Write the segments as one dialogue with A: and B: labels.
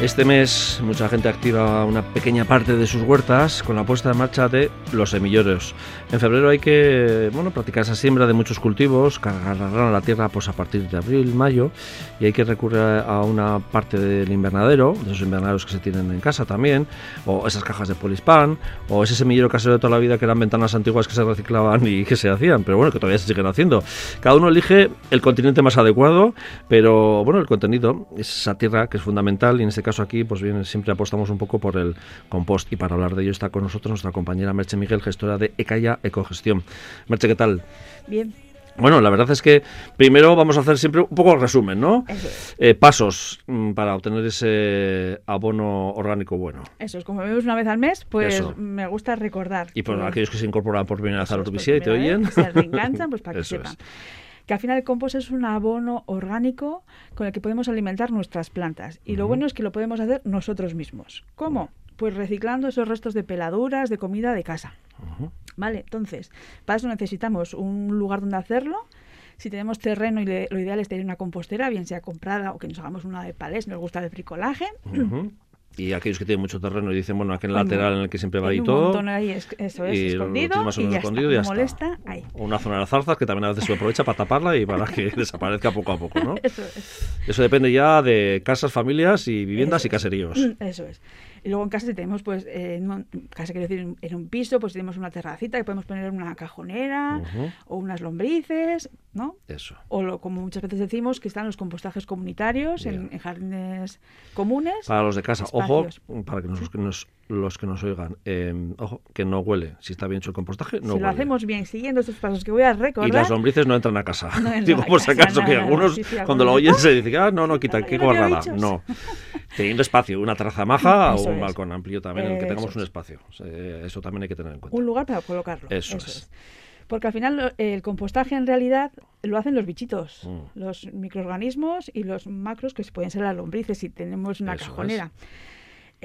A: Este mes mucha gente activa una pequeña parte de sus huertas con la puesta en marcha de los semilleros. En febrero hay que bueno, practicar esa siembra de muchos cultivos que agarrarán a la tierra pues, a partir de abril, mayo y hay que recurrir a una parte del invernadero, de esos invernaderos que se tienen en casa también, o esas cajas de polispan, o ese semillero casero de toda la vida que eran ventanas antiguas que se reciclaban y que se hacían, pero bueno, que todavía se siguen haciendo. Cada uno elige el continente más adecuado, pero bueno, el contenido es esa tierra que es fundamental y en este caso aquí, pues bien, siempre apostamos un poco por el compost. Y para hablar de ello está con nosotros nuestra compañera Merche Miguel, gestora de Ecaya Ecogestión. Merche, ¿qué tal?
B: Bien.
A: Bueno, la verdad es que primero vamos a hacer siempre un poco resumen, ¿no?
B: Eso es.
A: Eh, pasos mm, para obtener ese abono orgánico bueno.
B: Eso es, como vemos una vez al mes, pues
A: Eso.
B: me gusta recordar.
A: Y por
B: Pues,
A: aquellos que se incorporan por primera vez a la
B: eso es,
A: autopisía y te
B: por primera
A: oyen.
B: vez, que Se reenganchan, pues para que
A: Eso es.
B: sepan. Que al final el compost es un abono orgánico con el que podemos alimentar nuestras plantas. Y lo
A: Ujú.
B: bueno es que lo podemos hacer nosotros mismos. ¿Cómo? Pues reciclando esos restos de peladuras, de comida de casa.
A: Ujú.
B: Vale, entonces, para eso necesitamos un lugar donde hacerlo. Si tenemos terreno y le- lo ideal es tener una compostera, bien sea comprada o que nos hagamos una de palés, nos gusta el bricolaje.
A: Ujú. Y aquellos que tienen mucho terreno y dicen, bueno, aquel
B: Bueno,
A: lateral en el que siempre va
B: Hay
A: y
B: un
A: todo.
B: montón ahí, es- eso es,
A: y lo- lo
B: escondido.
A: tiene más o
B: y
A: menos
B: ya
A: escondido y
B: está.
A: ya
B: No
A: está.
B: molesta, ahí.
A: O una zona de las zarzas que también a veces se aprovecha para taparla y para que desaparezca poco a poco, ¿no?
B: Eso es.
A: Eso depende ya de casas, familias y viviendas
B: Eso
A: y caseríos.
B: Eso es. Y luego en casa si tenemos, pues, eh, en un- casa quiero decir, en- en un piso, pues tenemos una terracita que podemos poner una cajonera
A: Ujú.
B: o unas lombrices, ¿no?
A: Eso.
B: O lo, como muchas veces decimos, que están los compostajes comunitarios en,
A: Bien.
B: en jardines comunes.
A: Para los de casa, ojo,
B: Espacios.
A: para que nos, que nos- los que nos oigan, eh, ojo, que no huele. Si está bien hecho el compostaje, no
B: si
A: huele.
B: lo hacemos bien, siguiendo estos pasos que voy a recordar.
A: y las lombrices no entran a casa.
B: No entran
A: Digo,
B: a
A: por si
B: casa,
A: acaso, que
B: nada,
A: algunos
B: sí, sí,
A: cuando lo oyen
B: algunos,
A: se dicen, ah, no, no, quita,
B: Ay,
A: qué
B: no había
A: guarrada.
B: bichos.
A: No. Teniendo espacio, una terraza maja o
B: Eso
A: un
B: es.
A: balcón amplio también en el que
B: Eso
A: tengamos un
B: es.
A: espacio. Eh, eso también hay que tener en cuenta.
B: un lugar para colocarlo.
A: Eso es.
B: Porque al final lo- el compostaje en realidad lo hacen los bichitos,
A: Mm.
B: los microorganismos y los macros que pueden ser las lombrices si tenemos una
A: Eso
B: cajonera.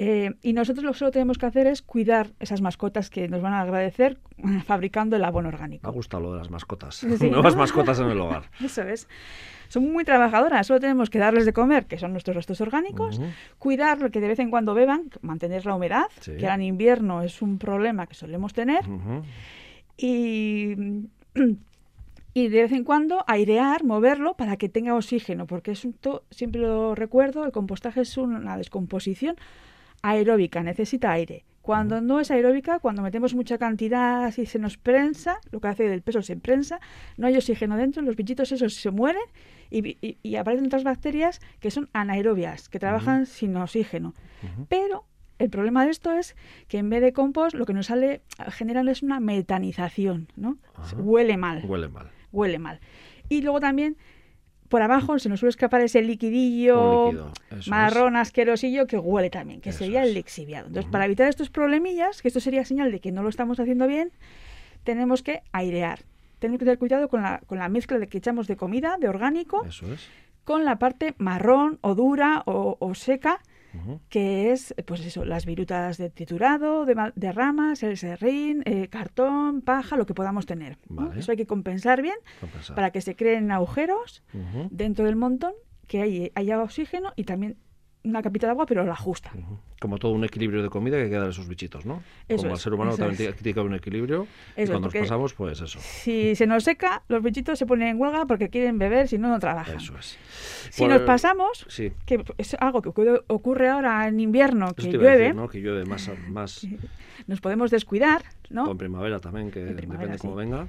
B: Eh, y nosotros lo que solo tenemos que hacer es cuidar esas mascotas que nos van a agradecer fabricando el abono
A: Me ha
B: orgánico.
A: gustado lo de las mascotas.
B: Sí,
A: Nuevas
B: ¿no?
A: mascotas en el hogar.
B: Eso es. Son muy trabajadoras, solo tenemos que darles de comer, que son nuestros restos orgánicos,
A: Ujú.
B: cuidar lo que de vez en cuando beban, mantener la humedad,
A: Sí.
B: que ahora en invierno es un problema que solemos tener,
A: Ujú.
B: y, y de vez en cuando airear, moverlo para que tenga oxígeno, porque es un to- siempre lo recuerdo, el compostaje es una descomposición aeróbica, necesita aire. Cuando no es aeróbica, cuando metemos mucha cantidad y se nos prensa, lo que hace el peso se prensa, no hay oxígeno dentro, los bichitos esos se mueren y, vi- y- y aparecen otras bacterias que son anaerobias, que trabajan sin oxígeno.
A: Ujú.
B: Pero el problema de esto es que en vez de compost, lo que nos sale general es una metanización, ¿no?
A: Ajá.
B: Huele mal, huele.
A: Huele mal.
B: mal. Y luego también, por abajo se nos suele escapar ese liquidillo
A: Un líquido. Eso es.
B: marrón asquerosillo que huele también, que
A: Eso
B: sería
A: es.
B: el lixiviado. Entonces,
A: Ujú.
B: para evitar estos problemillas, que esto sería señal de que no lo estamos haciendo bien, tenemos que airear. Tenemos que tener cuidado con la, con la mezcla de que echamos de comida, de orgánico,
A: Eso es.
B: con la parte marrón o dura o, o seca,
A: Ujú.
B: que es, eh, pues eso, las virutas de triturado, de, ma- de ramas, el serrín, eh, cartón, paja, lo que podamos tener. ¿no?
A: Vale.
B: Eso hay que compensar bien
A: Compensar.
B: para que se creen agujeros
A: Ujú.
B: dentro del montón, que hay- haya oxígeno y también una capita de agua, pero la justa.
A: Ujú. Como todo un equilibrio de comida que hay que dar a esos bichitos, ¿no?
B: Eso
A: Como al
B: es,
A: ser humano
B: eso
A: también
B: es.
A: tiene- tiene que haber un equilibrio. y
B: es,
A: cuando nos
B: porque-
A: pasamos, pues eso.
B: Si se nos seca, los bichitos se ponen en huelga porque quieren beber, si no, no trabajan.
A: Eso es.
B: Si
A: Bueno,
B: nos pasamos,
A: Sí.
B: que es algo que ocurre- ocurre ahora en invierno,
A: Eso
B: que
A: te iba a decir,
B: llueve,
A: ¿no? Que llueve más, más
B: nos podemos descuidar, ¿no?
A: con primavera también, que
B: En primavera,
A: depende
B: sí.
A: cómo venga.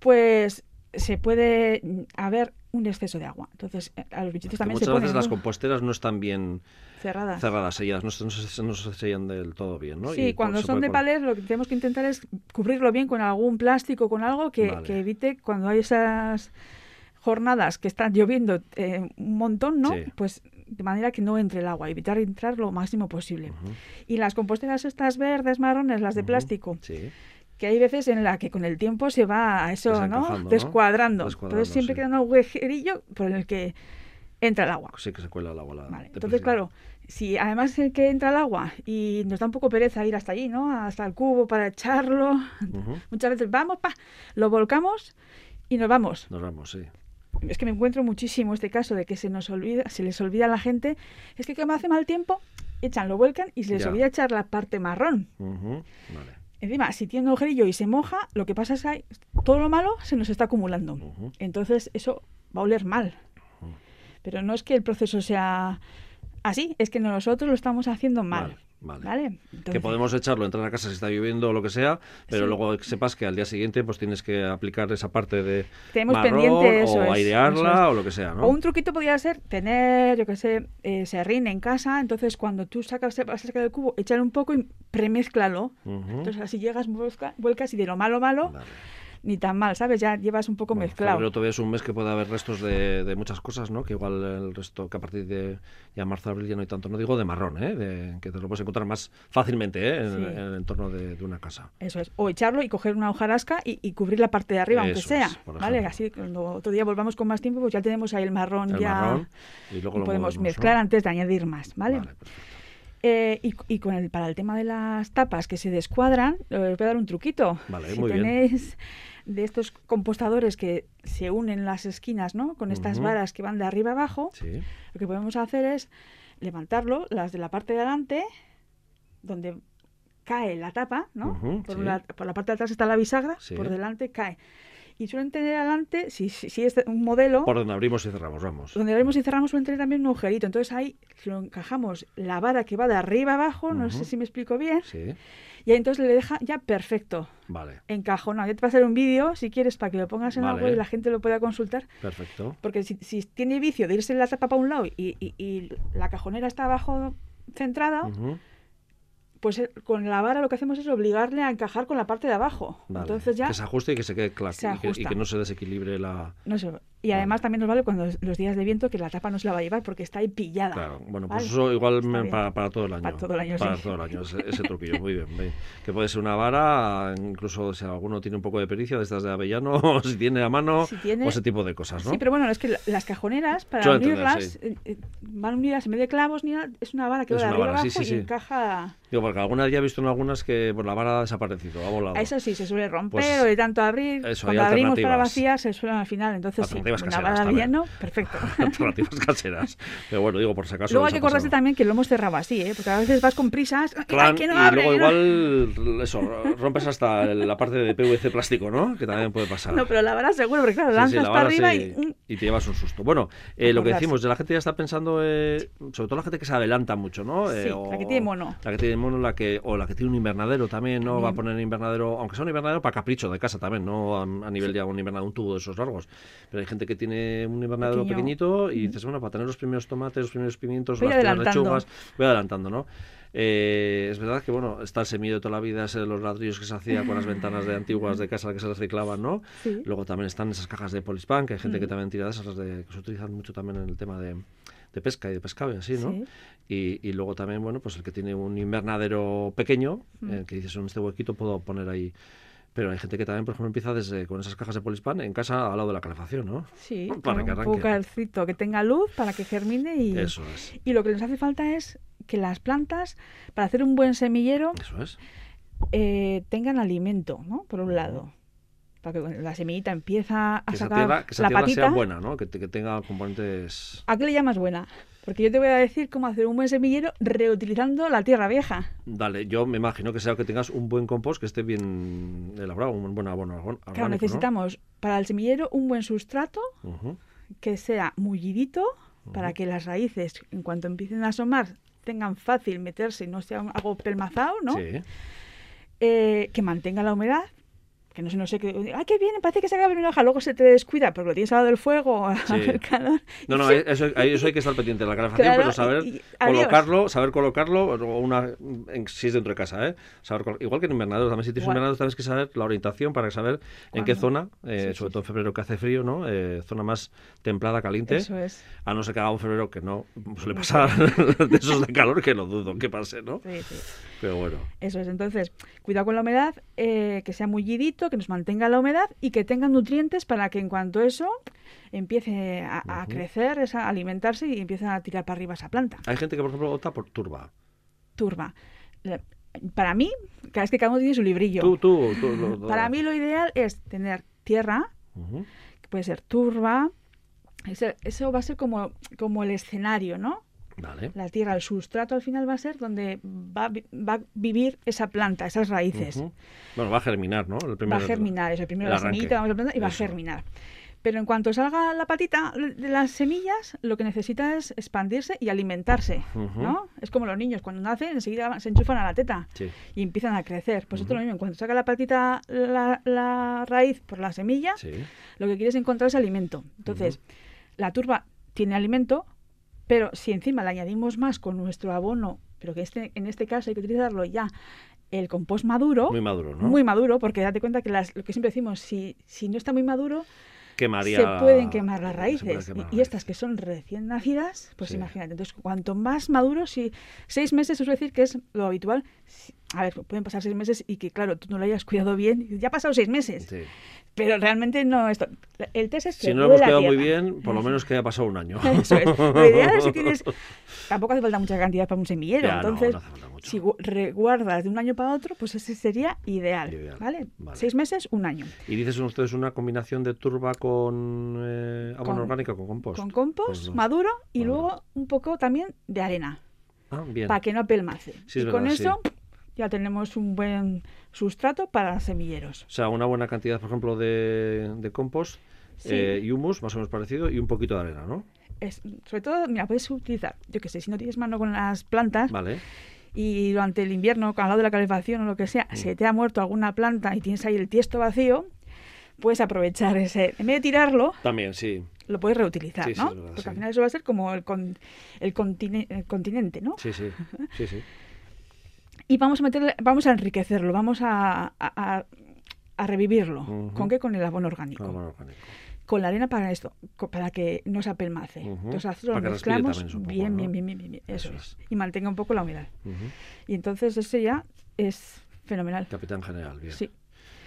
B: Pues se puede mm, haber un exceso de agua. Entonces, eh, a los bichitos
A: Que
B: también se
A: muchas
B: ponen
A: veces las
B: ¿no?
A: composteras no están bien
B: cerradas.
A: cerradas, ellas no, se- no se, no se sellan del todo bien, ¿no?
B: Sí,
A: Y
B: cuando
A: se
B: son
A: puede
B: de
A: col-
B: palés lo que tenemos que intentar es cubrirlo bien con algún plástico, con algo que,
A: Vale.
B: que evite cuando hay esas jornadas que están lloviendo eh, un montón, ¿no?
A: Sí.
B: Pues de manera que no entre el agua, evitar entrar lo máximo posible.
A: Ujú,
B: Y las composteras estas verdes, marrones, las de
A: ujú.
B: plástico,
A: Sí.
B: que hay veces en la que con el tiempo se va a eso,
A: Desencajando,
B: ¿no?
A: ¿no?
B: Descuadrando.
A: Descuadrando,
B: Entonces
A: sí.
B: siempre queda un agujerillo por el que entra el agua.
A: Sí que se cuela la bola. de
B: Vale, entonces,
A: plástico.
B: claro, si además el que entra el agua y nos da un poco pereza ir hasta allí, ¿no? Hasta el cubo para echarlo.
A: Ujú.
B: Muchas veces vamos, pa, lo volcamos y nos vamos.
A: Nos vamos, sí.
B: es que me encuentro muchísimo este caso de que se nos olvida, se les olvida a la gente, es que como hace mal tiempo, echan, lo vuelcan y se les
A: Ya.
B: olvida echar la parte marrón.
A: Ujú, Vale.
B: Encima, si tiene un agujerillo y se moja, lo que pasa es que todo lo malo se nos está acumulando.
A: Ujú.
B: Entonces, eso va a oler mal. Pero no es que el proceso sea así, es que nosotros lo estamos haciendo mal.
A: Vale, vale.
B: Entonces,
A: que podemos echarlo, entrar a casa si está lloviendo o lo que sea, pero
B: Sí.
A: luego que sepas que al día siguiente pues tienes que aplicar esa parte de
B: Tenemos
A: marrón
B: pendiente, eso
A: o
B: es,
A: airearla
B: eso es.
A: o lo que sea, ¿no?
B: O un truquito podría ser tener, yo qué sé, eh, serrín en casa, entonces cuando tú sacas, vas a sacar el cubo, échale un poco y premezclalo.
A: Ujú.
B: Entonces así llegas, vuelca- vuelcas y de lo malo, malo,
A: Vale.
B: ni tan mal, ¿sabes? Ya llevas un poco
A: Bueno,
B: mezclado.
A: febrero todavía es un mes que puede haber restos de, de muchas cosas, ¿no? Que igual el resto, que a partir de ya marzo, abril ya no hay tanto. No digo de marrón, ¿eh? De- que te lo puedes encontrar más fácilmente, ¿eh? En,
B: Sí.
A: en el entorno de, de una casa.
B: Eso es. O echarlo y coger una hojarasca y, y cubrir la parte de arriba, aunque
A: Eso
B: sea.
A: es, por
B: ¿Vale?
A: ejemplo.
B: Así cuando otro día volvamos con más tiempo, pues ya tenemos ahí el marrón
A: El
B: ya.
A: marrón y luego lo movemos,
B: podemos
A: ¿no?
B: mezclar antes de añadir más, ¿vale?
A: Vale, perfecto.
B: Eh, y y con el, para el tema de las tapas que se descuadran, eh, os voy a dar un truquito.
A: Vale,
B: si
A: muy bien.
B: tenéis de estos compostadores que se unen las esquinas, ¿no? Con estas
A: Ujú.
B: varas que van de arriba abajo,
A: Sí.
B: lo que podemos hacer es levantarlo, las de la parte de adelante, donde cae la tapa, ¿no?
A: Ujú,
B: por,
A: sí.
B: la, por la parte de atrás está la bisagra,
A: Sí.
B: por delante cae. Y suelen tener adelante, si, si, si es un modelo,
A: Por donde abrimos y cerramos, vamos.
B: donde abrimos y cerramos suele tener también un agujerito. Entonces ahí lo encajamos la vara que va de arriba abajo, no
A: Ujú.
B: sé si me explico bien,
A: Sí,
B: y ahí entonces le deja ya perfecto.
A: vale,
B: Encajonado. Ya te pasaré un vídeo, si quieres, para que lo pongas en
A: Vale.
B: la web y la gente lo pueda consultar.
A: perfecto.
B: Porque si, si tiene vicio de irse la tapa para un lado y, y- y la cajonera está abajo centrada,
A: Ujú.
B: pues eh, con la vara lo que hacemos es obligarle a encajar con la parte de abajo.
A: Vale,
B: Entonces ya
A: Que se ajuste y que se quede claro.
B: se
A: y, que, y
B: ajusta.
A: que no se desequilibre la.
B: no sé. Y además también nos vale cuando los días de viento que la tapa no se la va a llevar porque está ahí pillada.
A: Claro, bueno, pues
B: ¿vale?
A: eso igual
B: Está
A: me-
B: bien.
A: para, para todo el año.
B: Para todo el año,
A: Para
B: sí.
A: todo el año, ese, ese truquillo, muy bien, bien. Que puede ser una vara, incluso si alguno tiene un poco de pericia, de estas de avellano, o si tiene a mano,
B: Si tiene-
A: o ese tipo de cosas, ¿no?
B: Sí, pero bueno, es que la- las cajoneras, para
A: Suelen tener,
B: unirlas,
A: sí.
B: eh, eh, van unidas en vez de clavos ni nada, es una vara que
A: Es
B: va de
A: una
B: arriba
A: vara, sí, sí,
B: abajo y
A: sí.
B: encaja.
A: Digo, porque alguna ya he visto en algunas que por la vara ha desaparecido, ha volado.
B: A eso sí, se suele romper
A: Pues,
B: o de tanto abrir.
A: eso, hay
B: cuando abrimos para
A: alternativas.
B: vacía se suelen al final. Entonces, sí,
A: Alternativas
B: una
A: caseras
B: vara
A: también.
B: bien, ¿no? Perfecto.
A: Alternativas caseras. Pero bueno, digo, por si acaso.
B: Luego
A: les
B: hay que
A: ha
B: acordarse
A: pasado.
B: también que lo hemos cerrado así, ¿eh? Porque a veces vas con prisas. ¡ay,
A: Clan,
B: que no
A: y
B: abre!
A: luego
B: no!
A: igual eso, rompes hasta la parte de PVC plástico, ¿no? Que también puede pasar.
B: No, pero la vara seguro, porque claro,
A: Sí,
B: lanzas
A: sí, la
B: para
A: vara
B: arriba
A: sí,
B: y. mm,
A: y te llevas un susto. Bueno, eh, lo que
B: Acordarse.
A: decimos, la gente ya está pensando, eh, sobre todo la gente que se adelanta mucho, ¿no? Eh,
B: Sí, la que tiene mono.
A: La que tiene mono, la que, o la que tiene un invernadero también, ¿no? Va a
B: También.
A: poner invernadero, aunque sea un invernadero para capricho de casa también, no a, a nivel ya un invernadero, un tubo de esos largos. Pero hay gente que tiene un invernadero
B: Pequeño.
A: pequeñito y dices, bueno, para tener los primeros tomates, los primeros pimientos,
B: Voy
A: las primeras
B: adelantando.
A: lechugas, voy adelantando, ¿no? Eh, es verdad que bueno está el semillo de toda la vida ese de los ladrillos que se hacía con las ventanas de antiguas de casa que se reciclaban no
B: Sí.
A: Luego también están esas cajas de Polispan, que hay gente que también tira de esas, las de- que se utilizan mucho también en el tema de, de pesca y de pescado y así, ¿no?
B: Sí.
A: Y, y luego también, bueno, pues el que tiene un invernadero pequeño, en el que dices, en este huequito puedo poner ahí. Pero hay gente que también, por ejemplo, empieza desde con esas cajas de Polispan en casa al lado de la calefacción, ¿no?
B: Sí,
A: Para
B: con
A: que
B: un
A: arranque.
B: poco calcito, que tenga luz para que germine y.
A: Eso es,
B: Y lo que nos hace falta es que las plantas, para hacer un buen semillero,
A: eso es.
B: eh, tengan alimento, ¿no? Por un lado. Para que bueno, la semillita empieza a
A: Que esa
B: sacar
A: tierra, que esa
B: la
A: tierra
B: patita.
A: sea buena, ¿no? Que, te- que tenga componentes...
B: ¿A qué le llamas buena? Porque yo te voy a decir cómo hacer un buen semillero reutilizando la tierra vieja.
A: Dale, yo me imagino que sea que tengas un buen compost que esté bien elaborado, un buen abono orgón- orgánico, ¿no?
B: Claro, necesitamos para el semillero un buen sustrato
A: Ujú.
B: que sea mullidito para que las raíces, en cuanto empiecen a asomar, tengan fácil meterse y no sea un- algo pelmazado, ¿no?
A: Sí.
B: eh, que mantenga la humedad, que no se nos seque. ¡Ay, qué bien! Parece que se acaba de venir una hoja, luego se te descuida porque lo tienes al lado del fuego, al
A: Sí.
B: calor.
A: No, no, eh, eso, ahí eso hay que estar pendiente de la calefacción,
B: Claro,
A: pero saber
B: y- y- adiós.
A: colocarlo, saber colocarlo, o una, en- si es dentro de casa, ¿eh? Saber colo- igual que en invernadero, también si tienes
B: Igual.
A: invernadero tienes que saber la orientación para saber en qué
B: Cuándo.
A: zona, eh,
B: Sí,
A: sobre
B: sí,
A: todo en febrero que hace frío, ¿no? Eh, zona más templada, caliente,
B: Eso es.
A: a no ser que haga un febrero que no suele pasar de esos de calor que lo dudo que pase, ¿no?
B: Sí, sí.
A: Pero bueno,
B: Eso es. Entonces, cuidado con la humedad, eh, que sea mullidito, que nos mantenga la humedad y que tenga nutrientes para que en cuanto eso empiece a, a crecer, esa- a alimentarse y empiece a tirar para arriba esa planta.
A: hay gente que, por ejemplo, opta por turba.
B: Turba. La- Para mí, cada vez que cada uno tiene su librillo.
A: Tú, tú, tú. lo- lo-
B: Para mí lo ideal es tener tierra,
A: Ujú.
B: que puede ser turba, Ese- eso va a ser como, como el escenario, ¿no?
A: Vale.
B: La tierra, el sustrato al final va a ser donde va, a vi- va a vivir esa planta, esas raíces.
A: Ujú. Bueno, va a germinar, ¿no? El
B: va
A: primero-
B: a germinar, eso, primero
A: el
B: la
A: arranque.
B: semillita, vamos a plantar y va a
A: Eso.
B: germinar. Pero en cuanto salga la patita de las semillas, lo que necesita es expandirse y alimentarse,
A: Ujú.
B: ¿no? Es como los niños, cuando nacen enseguida se enchufan a la teta
A: Sí.
B: y empiezan a crecer. Pues esto es lo mismo, en cuanto saca la patita la, la raíz por la semilla,
A: Sí.
B: lo que quieres encontrar es alimento. Entonces, la turba tiene alimento, pero si encima le añadimos más con nuestro abono, pero que este, en este caso hay que utilizarlo ya, el compost maduro,
A: Muy maduro, ¿no?
B: muy maduro, porque date cuenta que las- lo que siempre decimos, si, si no está muy maduro,
A: Quemaría-
B: se pueden quemar las
A: se puede
B: raíces.
A: quemar
B: y, y
A: las
B: estas que son recién nacidas, pues
A: Sí.
B: imagínate. Entonces, cuanto más maduro, si seis meses, es decir que es lo habitual. Si- a ver, pueden pasar seis meses y que, claro, tú no lo hayas cuidado bien. y Ya ha pasado seis meses,
A: Sí.
B: pero realmente no. Esto, el test es que
A: Si no lo hemos
B: huela a
A: quedado muy
B: tierra.
A: bien, por lo menos que haya pasado un año.
B: Eso es. Lo ideal es si tienes. Tampoco hace falta mucha cantidad para un semillero.
A: Ya, no,
B: entonces,
A: no hace falta mucho.
B: si gu- reguardas de un año para otro, pues ese sería ideal.
A: Ideal,
B: ¿vale?
A: vale.
B: Seis meses, un año.
A: Y dices ustedes una combinación de turba con eh, abono
B: Con-
A: orgánico, con compost.
B: Con compost,
A: Pues no.
B: maduro y
A: Maduro.
B: luego un poco también de arena
A: Ah, bien.
B: para que no apelmace.
A: Sí,
B: y
A: es
B: con
A: verdad,
B: eso ya tenemos un buen sustrato para semilleros.
A: O sea, una buena cantidad, por ejemplo, de, de compost
B: Sí.
A: eh, y humus, más o menos parecido, y un poquito de arena, ¿no?
B: Es, sobre todo, mira, puedes utilizar, yo que sé, si no tienes mano con las plantas
A: Vale.
B: y durante el invierno, al lado de la calefacción o lo que sea,
A: Mm.
B: se te ha muerto alguna planta y tienes ahí el tiesto vacío, puedes aprovechar ese. En vez de tirarlo,
A: También, sí.
B: lo puedes reutilizar,
A: Sí, sí,
B: ¿no?
A: es verdad,
B: Porque
A: sí.
B: al final eso va a ser como el, con- el, contine- el continente, ¿no?
A: Sí, sí. Sí, sí.
B: Y vamos a meterle, vamos a enriquecerlo, vamos a, a- a- a revivirlo.
A: Ujú. Ah,
B: ¿Con qué? Con el abono orgánico.
A: Con abono orgánico.
B: Con la arena para esto, co- para que no se apelmace.
A: Ujú.
B: Entonces nosotros
A: Para
B: lo
A: que respire
B: mezclamos
A: también, supongo,
B: bien,
A: ¿no?
B: bien, bien, bien, bien, bien, Eso,
A: Eso
B: es. Y mantenga un poco la humedad.
A: Ujú.
B: Y entonces eso ya es fenomenal.
A: Capitán general, bien.
B: Sí,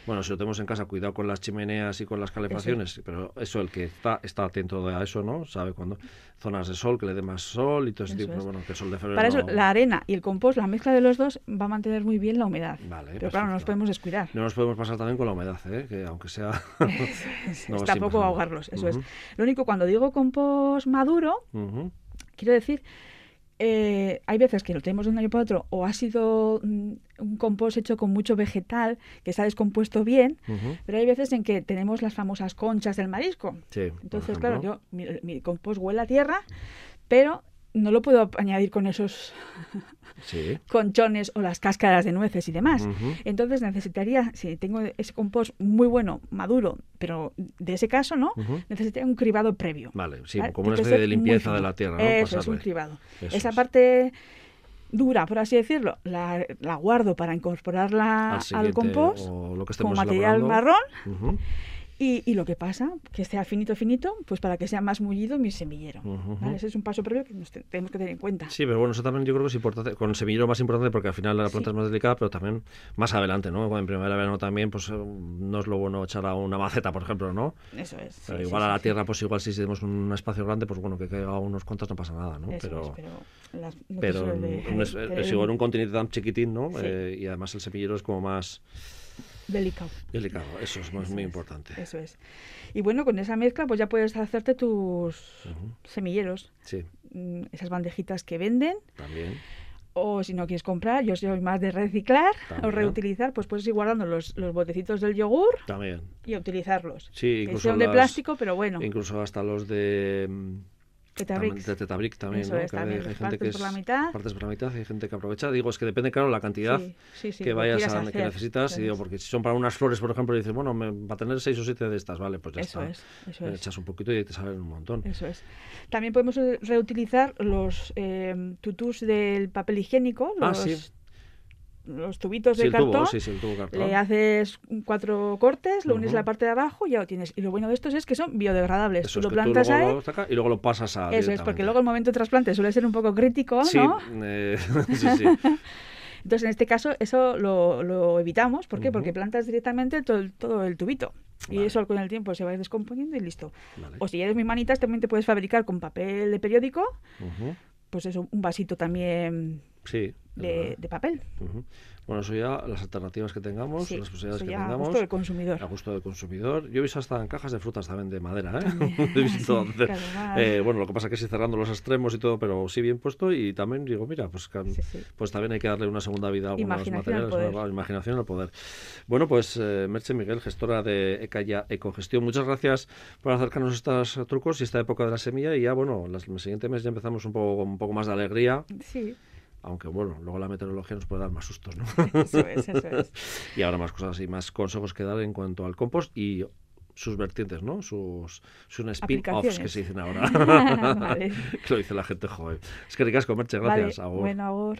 A: Bueno, si lo tenemos en casa, cuidado con las chimeneas y con las calefacciones, pero eso, el que está, está atento a eso, ¿no? Sabe cuándo. Zonas de sol, que le dé más sol y todo ese
B: Eso
A: tipo. pero
B: es.
A: Bueno, que el sol de febrero.
B: para eso
A: no-
B: la arena y el compost, la mezcla de los dos va a mantener muy bien la humedad.
A: Vale,
B: Pero claro, no nos
A: perfecto.
B: podemos descuidar.
A: No nos podemos pasar también con la humedad, ¿eh? que aunque sea.
B: Eso es,
A: No,
B: es
A: sí,
B: tampoco
A: imagino.
B: ahogarlos, eso
A: Ujú.
B: es. Lo único, cuando digo compost maduro,
A: Ujú,
B: Quiero decir, eh, hay veces que lo tenemos de un año para otro o ha sido mm, un compost hecho con mucho vegetal que está descompuesto bien,
A: ujú.
B: pero hay veces en que tenemos las famosas conchas del marisco.
A: Sí, por
B: Entonces,
A: ejemplo.
B: claro, yo mi, mi compost huele a tierra, pero no lo puedo añadir con esos
A: Sí.
B: conchones o las cáscaras de nueces y demás.
A: Ujú.
B: Entonces necesitaría, si tengo ese compost muy bueno, maduro, pero de ese caso, ¿no?
A: Ujú.
B: Necesitaría un cribado previo.
A: Vale, sí,
B: ¿vale?
A: como una
B: Tiene que
A: especie de
B: ser Ah, muy
A: limpieza
B: fino.
A: de la tierra, ¿no?
B: Eso es un
A: Pasarle.
B: cribado.
A: Eso
B: Esa
A: es.
B: parte dura, por así decirlo, la, la guardo para incorporarla
A: Al
B: al,
A: siguiente,
B: compost
A: o lo que
B: como
A: estemos
B: material
A: elaborando.
B: marrón.
A: Ujú,
B: Y, y lo que pasa, que sea finito, finito, pues para que sea más mullido mi semillero.
A: Ujú.
B: ¿vale? Ese es un paso previo que nos te- tenemos que tener en cuenta.
A: Sí, pero bueno, eso también yo creo que es importante, con el semillero más importante porque al final la planta
B: Sí.
A: es más delicada, pero también más adelante, ¿no? Cuando En primavera, verano también, pues eh, no es lo bueno echar a una maceta, por ejemplo, ¿no?
B: Eso es.
A: Pero
B: sí,
A: igual
B: sí,
A: a la
B: sí, sí.
A: tierra, pues igual si tenemos un espacio grande, pues bueno, que caiga unos cuantos no pasa nada, ¿no?
B: Eso es,
A: pero...
B: las no te
A: pero
B: suele
A: en- en- es,
B: te
A: es
B: den
A: igual un continente tan chiquitín, ¿no?
B: Sí.
A: Eh, y además el semillero es como más
B: delicado.
A: delicado. Eso es más-
B: Eso
A: muy
B: es,
A: importante.
B: Eso es. Y bueno, con esa mezcla pues ya puedes hacerte tus semilleros,
A: Sí,
B: mm, esas bandejitas que venden,
A: también.
B: o si no quieres comprar, yo soy más de reciclar o
A: También.
B: reutilizar, pues puedes ir guardando los, los botecitos del yogur
A: También.
B: y utilizarlos.
A: Sí,
B: que
A: incluso
B: son de
A: las-
B: plástico, pero bueno,
A: Incluso hasta los de... mm,
B: Teta
A: también-
B: Bricks.
A: De Tetabric también,
B: Eso
A: ¿no?
B: es,
A: Que hay-
B: también,
A: hay
B: las
A: gente que
B: partes por la
A: es-
B: mitad.
A: Partes por la mitad, hay gente que aprovecha. Digo, es que depende, claro, la cantidad
B: Ah. Sí, sí, sí,
A: que
B: lo
A: vayas
B: quieras
A: a, que
B: hacer,
A: necesitas.
B: eso
A: Y digo,
B: es.
A: porque si son para unas flores, por ejemplo, y dices, bueno, me, va a tener seis o siete de estas, vale, pues ya
B: Eso
A: está.
B: es, eso
A: Eh,
B: es.
A: Echas un poquito y te salen un montón.
B: Eso es. También podemos eh, reutilizar los eh, tutús del papel higiénico, los,
A: Ah, sí.
B: los tubitos
A: Sí,
B: de
A: el
B: cartón.
A: tubo, sí, sí, el tubo cartón.
B: Le haces cuatro cortes, lo unes
A: Ah. Ujú.
B: la parte de abajo y ya lo tienes. Y lo bueno de estos es que son biodegradables.
A: Eso
B: tú
A: es
B: lo
A: que tú
B: plantas
A: luego
B: ahí.
A: lo sacas y luego lo pasas a
B: Eso es, porque
A: directamente.
B: luego el momento de trasplante suele ser un poco crítico,
A: Sí,
B: ¿no?
A: eh, sí, sí.
B: Entonces, en este caso, eso lo, lo evitamos. ¿Por qué?
A: Ujú.
B: Porque plantas directamente todo el, todo el tubito. Y
A: Vale.
B: eso con el tiempo se va a ir descomponiendo y listo.
A: Vale.
B: O si eres mis manitas, también te puedes fabricar con papel de periódico,
A: Ujú.
B: pues eso, un vasito también
A: Sí. es
B: de,
A: verdad.
B: de papel.
A: Ujú. Bueno, eso ya las alternativas que tengamos,
B: Sí,
A: las posibilidades
B: eso
A: que
B: ya a
A: tengamos. Ah,
B: gusto del consumidor.
A: A gusto del consumidor. Yo he visto hasta en cajas de frutas también de madera, ¿eh?
B: También,
A: He visto
B: sí,
A: hacer-
B: claro, más.
A: eh, bueno, lo que pasa que sí cerrando los extremos y todo, pero sí bien puesto y también digo, mira, pues, que-
B: Sí, sí.
A: pues también hay que darle una segunda vida a algunos
B: Imaginación al
A: materiales,
B: poder.
A: ¿verdad? imaginación al poder. Bueno, pues eh, Merche Miguel, gestora de Ecaya Ecogestión, muchas gracias por acercarnos a estos eh, trucos y esta época de la semilla y ya, bueno, las- el siguiente mes ya empezamos un poco, un poco más de alegría,
B: Sí,
A: aunque bueno, luego la meteorología nos puede dar más sustos, ¿no?
B: eso es, eso es.
A: Y ahora más cosas y más consejos que dar en cuanto al compost y sus vertientes, ¿no? Sus, sus spin-offs que
B: Aplicaciones.
A: se dicen ahora.
B: Vale.
A: Que lo dice la gente joven. Es que ricasco, Merche, gracias.
B: Vale,
A: Agur.
B: Bueno, agur.